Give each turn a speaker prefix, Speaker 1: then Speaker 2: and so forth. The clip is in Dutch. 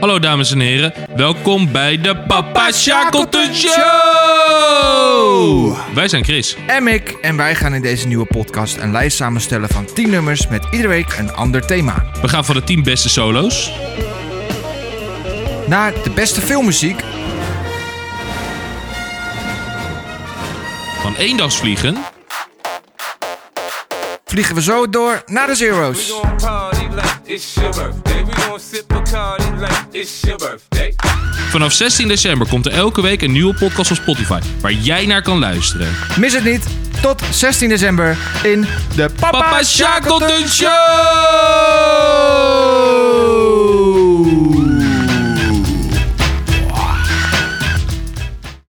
Speaker 1: Hallo dames en heren, welkom bij de Papa Shackleton Show! Wij zijn Chris.
Speaker 2: En Mick. En wij gaan in deze nieuwe podcast een lijst samenstellen van 10 nummers met iedere week een ander thema.
Speaker 1: We gaan van de 10 beste solo's
Speaker 2: Naar de beste filmmuziek.
Speaker 1: van eendagsvliegen
Speaker 2: Vliegen we zo door naar de Zero's.
Speaker 3: We gon' party like it's your birthday. We gon' sip Bacardi like it's your birthday.
Speaker 1: Vanaf 16 december komt er elke week een nieuwe podcast op Spotify waar jij naar kan luisteren.
Speaker 2: Mis het niet. Tot 16 december in de Papa,
Speaker 1: Papa
Speaker 2: Shackleton
Speaker 1: Shackleton Show!